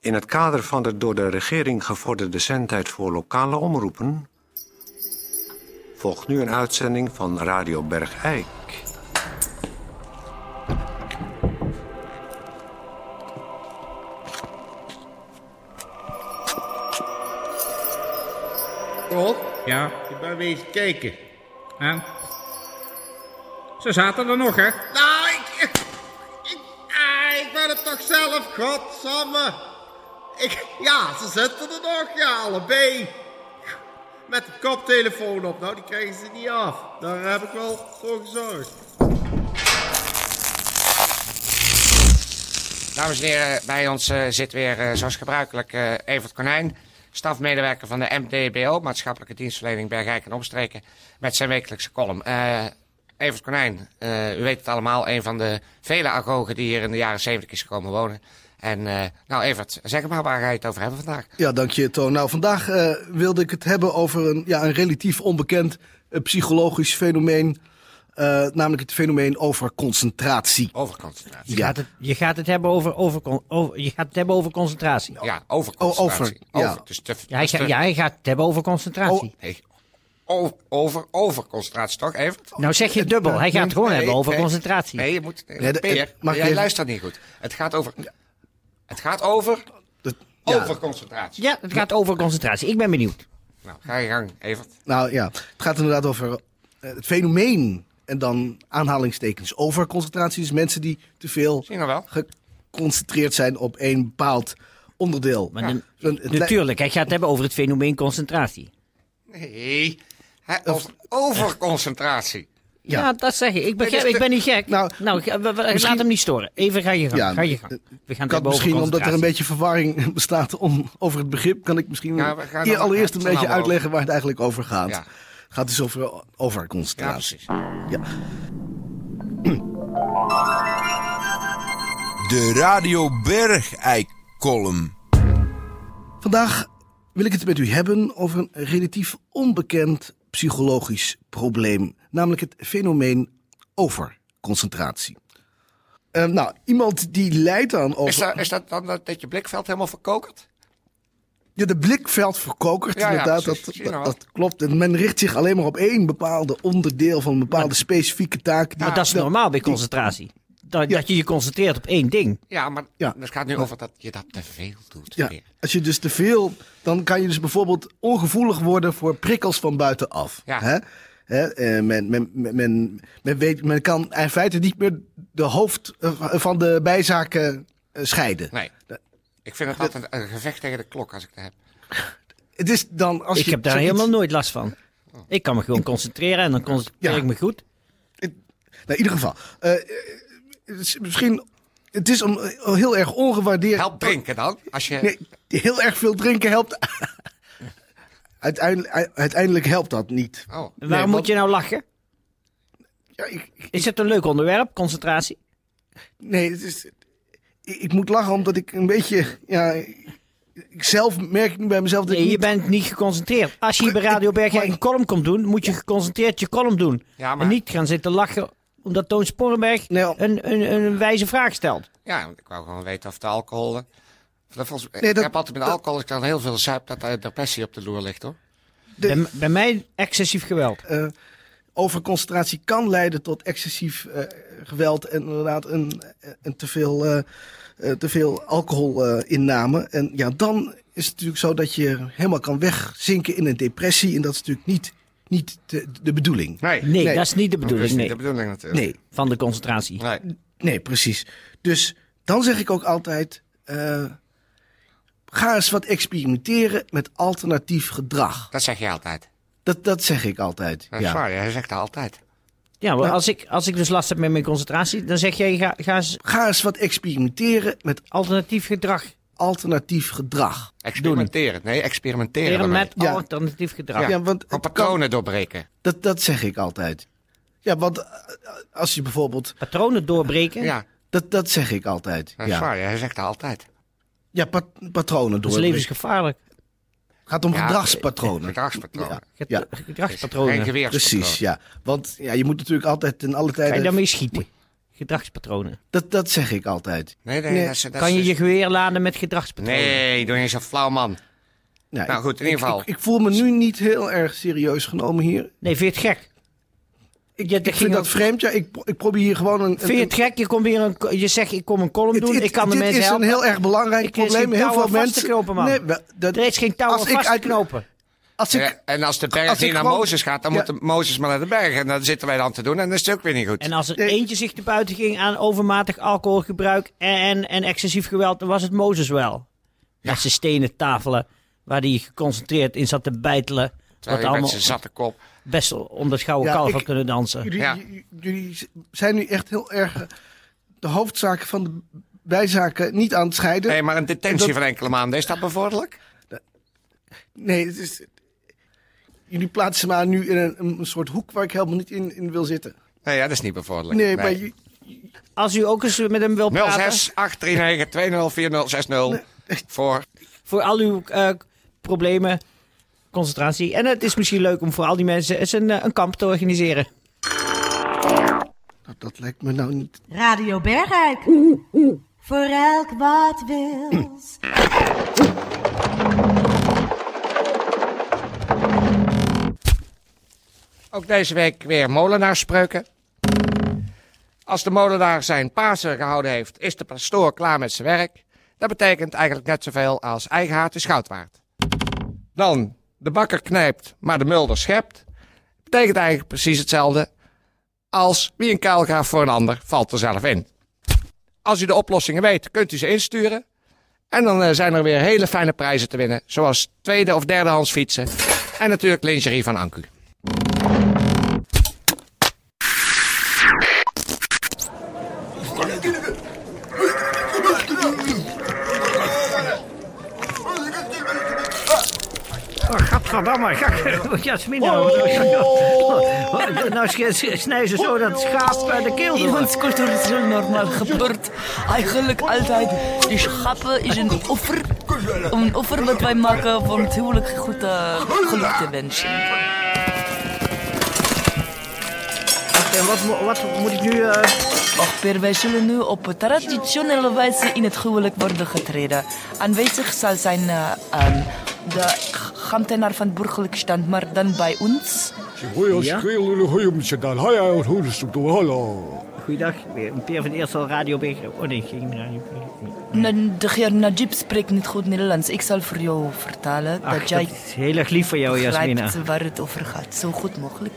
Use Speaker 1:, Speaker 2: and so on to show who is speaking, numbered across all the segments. Speaker 1: In het kader van de door de regering gevorderde zendtijd voor lokale omroepen... volgt nu een uitzending van Radio Bergijk.
Speaker 2: Rob,
Speaker 3: Ja,
Speaker 2: ik ben weer eens kijken.
Speaker 3: en? Ze zaten er nog, hè?
Speaker 2: Nou, ik... Ik, ik, ah, ik ben het toch zelf, godsamme. Ik, ja, ze zitten er nog, ja, allebei. Met de koptelefoon op, nou, die krijgen ze niet af. Daar heb ik wel voor gezorgd.
Speaker 4: Dames en heren, bij ons eh, zit weer eh, zoals gebruikelijk eh Evert Konijn, stafmedewerker van de MDBO, maatschappelijke dienstverlening Bergijk en Omstreken, met zijn wekelijkse column. Eh, Evert Konijn, eh, u weet het allemaal, een van de vele agogen die hier in de jaren zeventig is komen wonen. En eh, nou Evert, zeg maar waar ga je het over hebben vandaag?
Speaker 5: Ja, dank je, Toon. Nou, vandaag eh, wilde ik het hebben over een, ja, een relatief onbekend eh, psychologisch fenomeen. eh, namelijk het fenomeen over concentratie.
Speaker 4: Over concentratie.
Speaker 6: Je, gaat het, je, gaat het hebben over, over, con- over- je gaat het hebben over concentratie.
Speaker 4: Ja, over concentratie.
Speaker 5: Oh. over, ja.
Speaker 4: Dus te,
Speaker 6: Ja, hij,
Speaker 4: dus
Speaker 6: ga-
Speaker 4: te-
Speaker 6: ja, hij gaat het hebben over
Speaker 5: Oh,
Speaker 6: concentratie.
Speaker 4: Nee, over, over, over concentratie, toch Evert?
Speaker 5: oh,
Speaker 6: nou zeg
Speaker 5: eh,
Speaker 6: je het dubbel. Hij gaat het gewoon
Speaker 4: Nee,
Speaker 6: hebben over
Speaker 4: nee.
Speaker 6: concentratie.
Speaker 4: Nee, je moet.
Speaker 5: Nee, de- eh,
Speaker 4: Peer,
Speaker 5: mag ik
Speaker 4: jij
Speaker 5: even-
Speaker 4: luistert niet goed. Het gaat over. Het gaat over.
Speaker 5: Dat- ja,
Speaker 4: Overconcentratie.
Speaker 6: Ja, het gaat over concentratie. Ik ben benieuwd.
Speaker 4: Nou, ga je gang, Evert.
Speaker 5: Nou ja, het gaat inderdaad over eh, het fenomeen. En dan aanhalingstekens overconcentratie. Dus mensen die te veel
Speaker 4: Zie je nou wel?
Speaker 5: geconcentreerd zijn op één bepaald onderdeel.
Speaker 6: Maar de-
Speaker 5: Zo'n- het le-
Speaker 6: natuurlijk, hij gaat het hebben over het fenomeen concentratie.
Speaker 4: Nee. Hè, over overconcentratie.
Speaker 6: Ja,
Speaker 5: Ja.
Speaker 6: dat zeg je. Ik begrijp,
Speaker 4: Nee, dus
Speaker 6: ik ben niet gek. Nou,
Speaker 5: Nou,
Speaker 6: ga- we- we- laat
Speaker 5: misschien-
Speaker 6: hem niet storen. Even ga je gang.
Speaker 5: Ja, eh,
Speaker 6: ga je gang. We gaan het
Speaker 5: kan
Speaker 6: hebben
Speaker 5: misschien,
Speaker 6: over
Speaker 5: omdat er een
Speaker 6: concentratie.
Speaker 5: beetje verwarring bestaat om, over het begrip, kan ik misschien
Speaker 4: Ja, we gaan
Speaker 5: eer
Speaker 4: dan- het
Speaker 5: allereerst een
Speaker 4: zal
Speaker 5: beetje
Speaker 4: allemaal
Speaker 5: uitleggen waar het eigenlijk over gaat.
Speaker 4: Ja.
Speaker 5: Het gaat dus over, over concentratie. Ja.
Speaker 7: De Radio Bergijk-column.
Speaker 5: Vandaag wil ik het met u hebben over een relatief onbekend psychologisch probleem, namelijk het fenomeen overconcentratie. Eh, nou, iemand die lijdt aan over...
Speaker 4: Is dat, is dat dan dat, dat je blikveld helemaal verkokert?
Speaker 5: Ja, de blikveld verkokert,
Speaker 4: Ja, ja,
Speaker 5: inderdaad.
Speaker 4: precies.
Speaker 5: dat,
Speaker 4: Zie je
Speaker 5: dat,
Speaker 4: nou
Speaker 5: dat klopt. En men richt zich alleen maar op één bepaalde onderdeel van een bepaalde specifieke taak. die-
Speaker 6: Maar dat is
Speaker 5: wel-
Speaker 6: normaal bij
Speaker 5: nou, die-
Speaker 6: concentratie. Dat,
Speaker 5: Ja.
Speaker 6: dat je je concentreert op één ding.
Speaker 4: Ja, maar
Speaker 5: Ja.
Speaker 4: het gaat nu over dat je dat te veel doet.
Speaker 5: Ja,
Speaker 4: weer.
Speaker 5: als je dus te veel, dan kan je dus bijvoorbeeld ongevoelig worden voor prikkels van buitenaf.
Speaker 4: Ja.
Speaker 5: Hè? Hè, eh, men, men, men, men, men weet, men kan in feite niet meer de hoofd eh, van de bijzaken eh, scheiden.
Speaker 4: Nee. Ik vind het altijd een gevecht tegen de klok als ik dat heb.
Speaker 5: Het is dan als
Speaker 6: Ik
Speaker 5: je
Speaker 6: heb daar
Speaker 5: zoiets-
Speaker 6: helemaal nooit last van. Ik kan me gewoon concentreren en dan concentreer
Speaker 5: Ja.
Speaker 6: ik me goed.
Speaker 5: Nou, in ieder geval. eh, eh, het is misschien. Het is om, eh, heel erg ongewaardeerd.
Speaker 4: Help drinken dan. Als je,
Speaker 5: Nee, heel erg veel drinken helpt. Uiteindelijk, uiteindelijk helpt dat niet.
Speaker 4: Oh,
Speaker 6: Waarom moet
Speaker 5: want-
Speaker 6: je nou lachen?
Speaker 5: Ja, ik, ik-
Speaker 6: Is het een leuk onderwerp, concentratie?
Speaker 5: nee, het is, ik, ik moet lachen omdat ik een beetje. Ja, ik zelf merk ik nu bij mezelf dat ik
Speaker 6: Nee, je
Speaker 5: niet-
Speaker 6: bent niet geconcentreerd. Als je hier bij Radio Bergijk een column komt doen, moet je geconcentreerd je column doen.
Speaker 4: Ja, maar-
Speaker 6: En niet gaan zitten lachen omdat Toon Sporenberg
Speaker 5: Nee,
Speaker 6: een, een, een wijze vraag stelt.
Speaker 4: Ja, want ik wou gewoon weten of de alcohol. eh, Dat volgens,
Speaker 5: Nee,
Speaker 4: ik
Speaker 5: dat-
Speaker 4: heb altijd met
Speaker 5: dat-
Speaker 4: alcohol, als ik dan heel veel zuip, dat daar depressie op de loer ligt hoor.
Speaker 6: Bij, bij mij excessief geweld.
Speaker 5: eh, overconcentratie kan leiden tot excessief eh, geweld en inderdaad een, een teveel, eh eh, teveel alcoholinname. eh, en ja, dan is het natuurlijk zo dat je helemaal kan wegzinken in een depressie. En dat is natuurlijk niet, niet de, de bedoeling.
Speaker 4: Nee,
Speaker 6: Nee,
Speaker 5: Nee.
Speaker 6: dat is niet de
Speaker 4: dat is
Speaker 6: bedoeling.
Speaker 4: niet
Speaker 6: Nee.
Speaker 4: de bedoeling natuurlijk.
Speaker 5: Nee,
Speaker 6: Van de concentratie.
Speaker 4: Nee.
Speaker 5: nee, precies. Dus dan zeg ik ook altijd, eh, ga eens wat experimenteren met alternatief gedrag.
Speaker 4: dat zeg je altijd.
Speaker 5: Dat, dat zeg ik altijd.
Speaker 4: Dat is
Speaker 5: ja.
Speaker 4: waar, jij zegt dat altijd.
Speaker 6: Ja, maar als ik, als ik dus last heb met mijn concentratie, dan zeg jij, ga, ga eens
Speaker 5: Ga eens wat experimenteren met
Speaker 6: alternatief gedrag
Speaker 5: alternatief gedrag.
Speaker 4: Experimenteren. Nee, experimenteren.
Speaker 6: leren
Speaker 4: daarmee.
Speaker 6: met
Speaker 5: Ja.
Speaker 6: alternatief gedrag.
Speaker 5: Ja, want
Speaker 4: Gewoon
Speaker 5: het
Speaker 4: patronen
Speaker 5: kan-
Speaker 4: doorbreken.
Speaker 5: dat, dat zeg ik altijd. Ja, want eh, als je bijvoorbeeld.
Speaker 6: Patronen doorbreken.
Speaker 4: Ja,
Speaker 5: Dat, dat zeg ik altijd.
Speaker 4: dat is
Speaker 5: ja,
Speaker 4: waar, jij zegt dat altijd.
Speaker 5: ja pa- patronen
Speaker 6: Dat
Speaker 5: door.
Speaker 6: is levensgevaarlijk.
Speaker 5: Het gaat om
Speaker 4: Ja, eh,
Speaker 5: gedragspatronen.
Speaker 4: Gedragspatronen.
Speaker 6: Get-
Speaker 5: Ja.
Speaker 4: Het is Dus Geen
Speaker 6: Gedragspatronen.
Speaker 4: geweerspatroon.
Speaker 5: Precies, ja. Want ja, je moet natuurlijk altijd in alle
Speaker 6: Ga je
Speaker 5: tijden.
Speaker 6: daarmee schieten? gedragspatronen.
Speaker 5: Dat, dat zeg ik altijd.
Speaker 4: Nee, nee,
Speaker 5: Nee.
Speaker 4: dat is, dat
Speaker 6: kan
Speaker 4: is- dus-
Speaker 6: je je geweer laden met gedragspatronen?
Speaker 4: Nee, doe je zo'n flauw man.
Speaker 5: Nou,
Speaker 4: Nou
Speaker 5: ik-
Speaker 4: goed, in ieder geval.
Speaker 5: Ik, ik voel me nu niet heel erg serieus genomen hier.
Speaker 6: Nee, vind je het gek?
Speaker 5: Ik,
Speaker 6: Ja,
Speaker 5: ik
Speaker 6: dat
Speaker 5: vind
Speaker 6: ging
Speaker 5: dat
Speaker 6: ook-
Speaker 5: vreemd. Ja, ik, pro- ik probeer hier gewoon een.
Speaker 6: Vind je het gek? Je, komt weer een, co- je zegt, ik kom een column doen, ik kan de
Speaker 5: dit
Speaker 6: mensen
Speaker 5: is
Speaker 6: helpen.
Speaker 5: een heel erg belangrijk
Speaker 6: Ik- er is
Speaker 5: probleem.
Speaker 6: geen
Speaker 5: Heel
Speaker 6: touw
Speaker 5: veel
Speaker 6: aan vast te
Speaker 5: mensen.
Speaker 6: knopen, man.
Speaker 5: Nee, wel, dat,
Speaker 6: Er is geen touw
Speaker 5: Als
Speaker 6: aan
Speaker 5: ik
Speaker 6: vast te
Speaker 5: uit-
Speaker 6: knopen.
Speaker 5: als ik,
Speaker 4: Ja, Eh, en als de berg
Speaker 5: als ik
Speaker 4: niet naar
Speaker 5: gewoon-
Speaker 4: Mozes gaat, dan
Speaker 5: Ja.
Speaker 4: moet de Mozes maar naar de berg. En dan zitten wij dan te doen en dat is ook weer niet goed.
Speaker 6: En als er
Speaker 5: Nee.
Speaker 6: eentje zich te buiten ging aan overmatig alcoholgebruik en, en, en excessief geweld, dan was het Mozes wel. Met zijn stenen tafelen, waar hij geconcentreerd in zat te bijtelen.
Speaker 4: Terwijl
Speaker 6: Wat
Speaker 4: je met
Speaker 6: allemaal
Speaker 4: zijn zatte kop.
Speaker 6: best wel om dat gouden
Speaker 5: Ja,
Speaker 6: kalf
Speaker 5: ik-
Speaker 6: had kunnen dansen.
Speaker 5: jullie,
Speaker 4: Ja.
Speaker 5: jullie- jullie zijn nu echt heel erg eh, de hoofdzaken van de bijzaken niet aan het scheiden.
Speaker 4: Nee, maar een detentie
Speaker 5: Dat-
Speaker 4: van enkele maanden, is dat bevorderlijk?
Speaker 5: Nee, het is, jullie plaatsen me aan nu in een, een soort hoek waar ik helemaal niet in, in wil zitten.
Speaker 4: Nee, ja, dat is niet bevorderlijk.
Speaker 5: Nee, maar ju-
Speaker 6: Als u ook eens met hem wil praten,
Speaker 4: 06 839 204060 voor.
Speaker 6: voor al uw eh, problemen, concentratie. En het is misschien leuk om voor al die mensen eens een, eh, een kamp te organiseren.
Speaker 5: dat, dat lijkt me nou niet.
Speaker 8: Radio Bergijk. Voor elk wat wils.
Speaker 4: Ook deze week weer molenaarspreuken. Als de molenaar zijn Pasen gehouden heeft, is de pastoor klaar met zijn werk. Dat betekent eigenlijk net zoveel als eigen haat is goud waard. Dan, de bakker knijpt, maar de mulder schept. Betekent eigenlijk precies hetzelfde als wie een kuil gaat voor een ander, valt er zelf in. Als u de oplossingen weet, kunt u ze insturen. En dan eh, zijn er weer hele fijne prijzen te winnen, zoals tweede of derdehands fietsen. En natuurlijk lingerie van Anku.
Speaker 6: Oh, Gadverdamme, Jasmina.
Speaker 9: Oh.
Speaker 6: Nou snij ze zo dat schaap eh, de keel
Speaker 9: In ons cultuur is heel normaal gebeurd. Eigenlijk altijd. Die schapen is een offer. Een offer dat wij maken voor het huwelijk goed eh, geluk te wensen.
Speaker 6: En wat, mo- wat moet ik nu... eh,
Speaker 9: Och Per, wij zullen nu op traditionele wijze in het huwelijk worden getreden. Aanwezig zal zijn eh, ehm, de ambtenaar van burgerlijk stand, maar dan bij ons.
Speaker 6: Ja? Goeiedag, eh, Peer van Eersel, Radio Bergen. Oh nee, geen Radio Bergen.
Speaker 9: Na- De heer Najib spreekt niet goed Nederlands. Ik zal voor jou vertalen
Speaker 6: Ach,
Speaker 9: dat jij
Speaker 6: dat is heel erg lief van jou, Jasmina.
Speaker 9: begrijpt waar het over gaat. Zo goed mogelijk.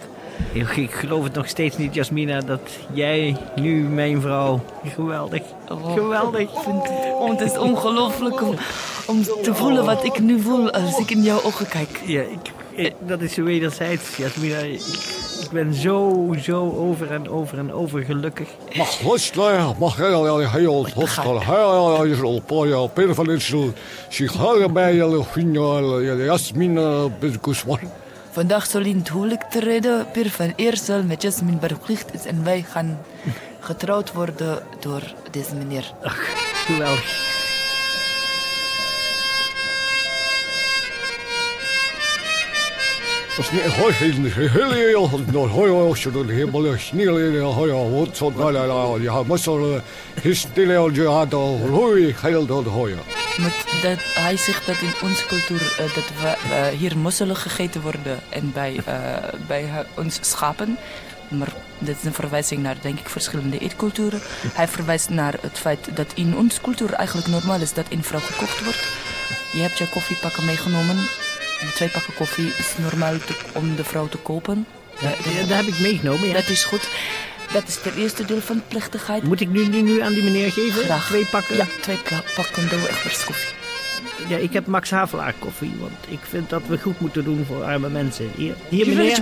Speaker 6: Ik, ik geloof het nog steeds niet, Jasmina, dat jij nu mijn vrouw... Geweldig,
Speaker 9: Oh.
Speaker 6: geweldig.
Speaker 9: Ik vind het, oh, het is ongelooflijk om, om te voelen wat ik nu voel als ik in jouw ogen kijk.
Speaker 6: Ja, ik, ik- dat is wederzijds, Jasmina. Ik, ik ben zo, zo over en over en over gelukkig.
Speaker 9: Vandaag zal in het huwelijk treden Pir van Eersel met Jasmin Berglicht is en wij gaan getrouwd worden door deze meneer.
Speaker 6: Geweldig.
Speaker 9: Met dat, hij zegt dat in onze cultuur eh, dat we eh, hier mosselen gegeten worden en bij, eh, bij eh, ons schapen. Maar dat is een verwijzing naar, denk ik, verschillende eetculturen. Hij verwijst naar het feit dat in onze cultuur eigenlijk normaal is dat in vrouw gekocht wordt. Je hebt je koffiepakken meegenomen. De twee pakken koffie is normaal te- om de vrouw te kopen.
Speaker 6: Ja, dat heb ik meegenomen, ja.
Speaker 9: Dat is goed. Dat is het eerste deel van de plechtigheid.
Speaker 6: Moet ik nu, nu, nu aan die meneer geven?
Speaker 9: Graag.
Speaker 6: Twee pakken?
Speaker 9: Ja, twee pla- pakken Douwe-Egberts koffie.
Speaker 6: Ja, ik heb Max Havelaar koffie, want ik vind dat we goed moeten doen voor arme mensen. Hier, hier
Speaker 9: Ik ben
Speaker 6: meneer.
Speaker 9: Ik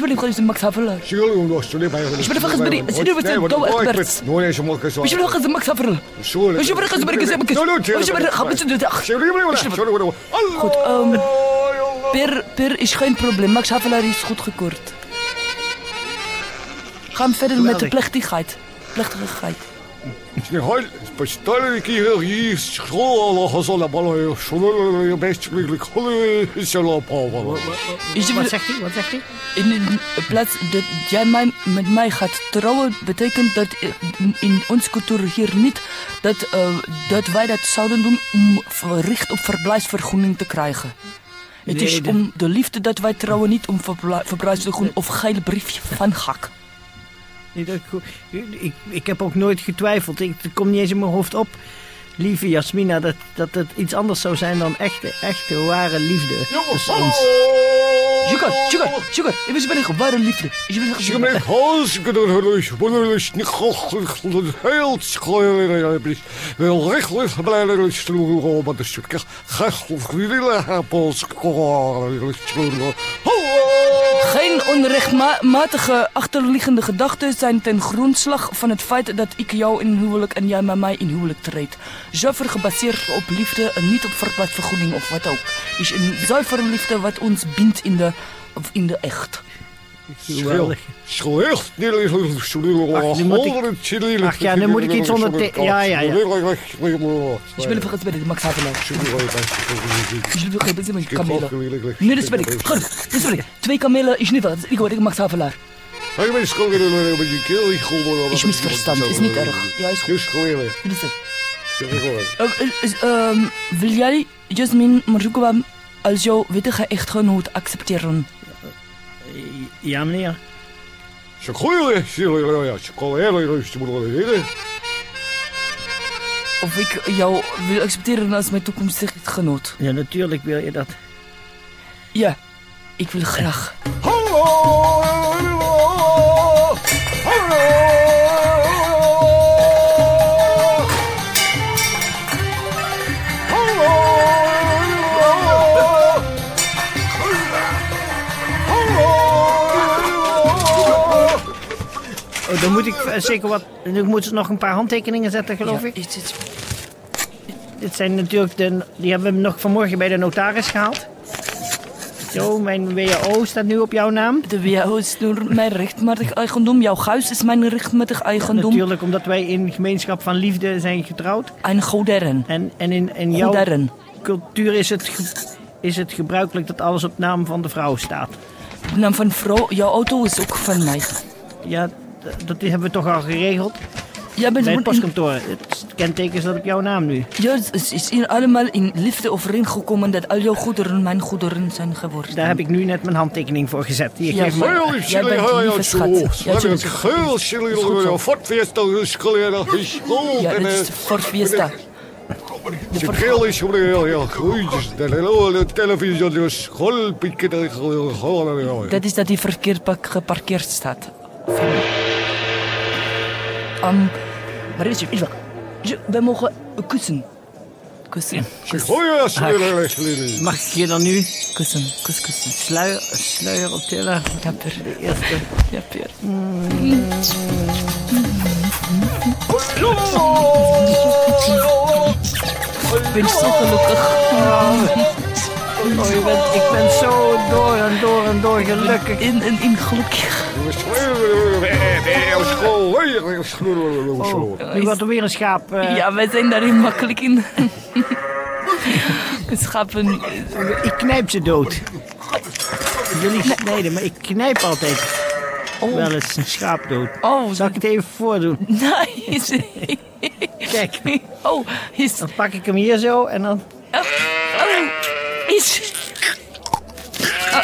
Speaker 9: ben gewoon de Max Havelaar. Ich bin vergessen, bin ich. Sie dürfen den Go Experts. Ich bin vergessen, Max Haverl. Ich bin vergessen, bin ich sehr begeistert. Ich bin vergessen, du Dach. Gut, ähm. Per, per ist kein Problem. Max Haverl ist gut gekurt. Gaan verder met de
Speaker 6: Geweldig.
Speaker 9: plechtigheid. Plechtigheid.
Speaker 10: Специально специальники школа хазала балая шулала бестмиглик хули села павала.
Speaker 9: Ik wil-
Speaker 6: Wat zegt hij? Wat zegt hij?
Speaker 9: In de plaats dat jij mij, met mij gaat trouwen, betekent dat eh, in onze cultuur hier niet dat, eh, dat wij dat zouden doen om v- recht op verblijfsvergunning te krijgen. Het
Speaker 6: Nee,
Speaker 9: is
Speaker 6: dat-
Speaker 9: om de liefde dat wij trouwen, niet om verbla- verblijfsvergunning of geil briefje van gak.
Speaker 6: Niet dat ik, goed- ik, ik heb ook nooit getwijfeld. Ik, het komt niet eens in mijn hoofd op, lieve Jasmina, dat, dat het iets anders zou zijn dan echte, echte, ware liefde tussen
Speaker 2: oh,
Speaker 6: ons.
Speaker 9: Sugar, sugar, sugar, ik ben een ware liefde. Ik ben
Speaker 10: Ik ben
Speaker 9: een
Speaker 10: hartstikke door wonderlijk, niet goed, heel schoon. Wel rechtelijk blijven sloegen, maar de stukje gachtig willen hebben schoon.
Speaker 9: Geen onrechtmatige achterliggende gedachten zijn ten grondslag van het feit dat ik jou in huwelijk en jij met mij in huwelijk treedt. Zuiver gebaseerd op liefde en niet op verplaatsvergoeding of wat ook. Is een zuivere liefde wat ons bindt in de, of in de echt.
Speaker 10: Schil, schil,
Speaker 6: Ach, nu moet ik- Ach ja, nu moet ik iets onder te- ja, ja, ja.
Speaker 9: Dus ben ik vergeten bij de Max Havelaar. Dus ben ik vergeten bij de kamelen. Nee, dat ben ik. Goed, dat ben ik. Twee kamelen is niet wat. Ik word ik Max Havelaar. Is misverstand, is niet erg. Ja, is goed. Dit is het. Eh, eh, is, ehm, wil jij Jasmin Marzoekwa als jouw wittige echtgenoot accepteren?
Speaker 6: Ja, meneer.
Speaker 9: Of ik jou wil accepteren als mijn toekomstige echtgenoot?
Speaker 6: Ja, natuurlijk wil je dat.
Speaker 9: Ja, ik wil graag.
Speaker 6: Oh, dan moet ik eh, zeker wat... Ik moet nog een paar handtekeningen zetten, geloof
Speaker 9: Ja,
Speaker 6: ik.
Speaker 9: is het-
Speaker 6: Dit zijn natuurlijk de... Die hebben we nog vanmorgen bij de notaris gehaald. Zo, mijn WAO staat nu op jouw naam.
Speaker 9: De WHO is door mijn rechtmatig eigendom. Jouw huis is mijn rechtmatig eigendom.
Speaker 6: Natuurlijk, omdat wij in gemeenschap van liefde zijn getrouwd.
Speaker 9: en goderen.
Speaker 6: En, en in, in jouw
Speaker 9: Goderen.
Speaker 6: cultuur is het, ge- is het gebruikelijk dat alles op naam van de vrouw staat.
Speaker 9: De naam van vrouw, jouw auto is ook van mij.
Speaker 6: Ja, d- dat hebben we toch al geregeld
Speaker 9: Jij bent
Speaker 6: bij het
Speaker 9: mijn-
Speaker 6: postkantoor. Het kenteken staat op jouw naam nu.
Speaker 9: Ja, het is, is hier allemaal in liefde overeengekomen dat al jouw goederen mijn goederen zijn geworden.
Speaker 6: Daar heb ik nu net mijn handtekening voor gezet. Hier,
Speaker 9: Ja,
Speaker 6: geef me.
Speaker 9: maar- Ja, dat is de Ford Fiesta. De Ford- Dat is dat die verkeerd pak- geparkeerd staat. Um, maar is het? Je- Wij mogen kussen. Kussen,
Speaker 6: Mag ik je dan nu
Speaker 9: kussen, kus, kussen.
Speaker 6: sluier, sluier optillen?
Speaker 9: Dapper.
Speaker 6: Eerste.
Speaker 9: Ja, Peer. Ik ben zo gelukkig.
Speaker 6: Oh, je bent, ik ben zo door en door en door gelukkig.
Speaker 9: In en in gelukkig.
Speaker 6: Oh, Nu wordt er weer een schaap. eh,
Speaker 9: Ja, wij zijn daar heel makkelijk in. Schapen.
Speaker 6: Ik knijp ze dood. Jullie snijden, maar ik knijp altijd
Speaker 9: Oh,
Speaker 6: wel eens een schaap dood.
Speaker 9: oh,
Speaker 6: Zal ik het even voordoen?
Speaker 9: nice.
Speaker 6: Kijk,
Speaker 9: Oh, is.
Speaker 6: dan pak ik hem hier zo en dan...
Speaker 9: Oh, is. Oh.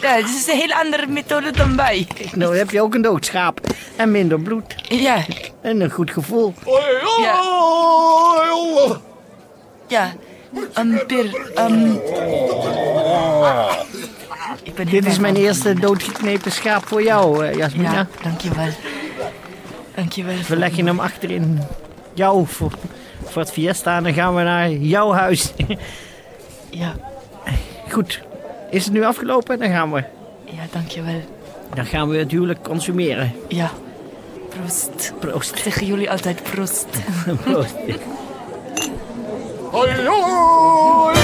Speaker 9: Ja, dit is een heel andere methode dan wij.
Speaker 6: Kijk, nou heb je ook een dood schaap. En minder bloed.
Speaker 9: Ja,
Speaker 6: En een goed gevoel.
Speaker 9: ja, ja. Um, Peer, ehm, ik ben
Speaker 6: Dit is mijn eerste doodgeknepen schaap voor jou, eh, Jasmina.
Speaker 9: Ja, dankjewel. Dankjewel.
Speaker 6: We leggen hem achter in jou voor, voor het fiesta en dan gaan we naar jouw huis.
Speaker 9: Ja,
Speaker 6: Goed, is het nu afgelopen? Dan gaan we,
Speaker 9: ja, dankjewel.
Speaker 6: dan gaan we het huwelijk consumeren.
Speaker 9: Ja. Proost.
Speaker 6: Proost.
Speaker 9: Zeggen jullie altijd proost.
Speaker 6: Proost.
Speaker 10: Hoi, hoi,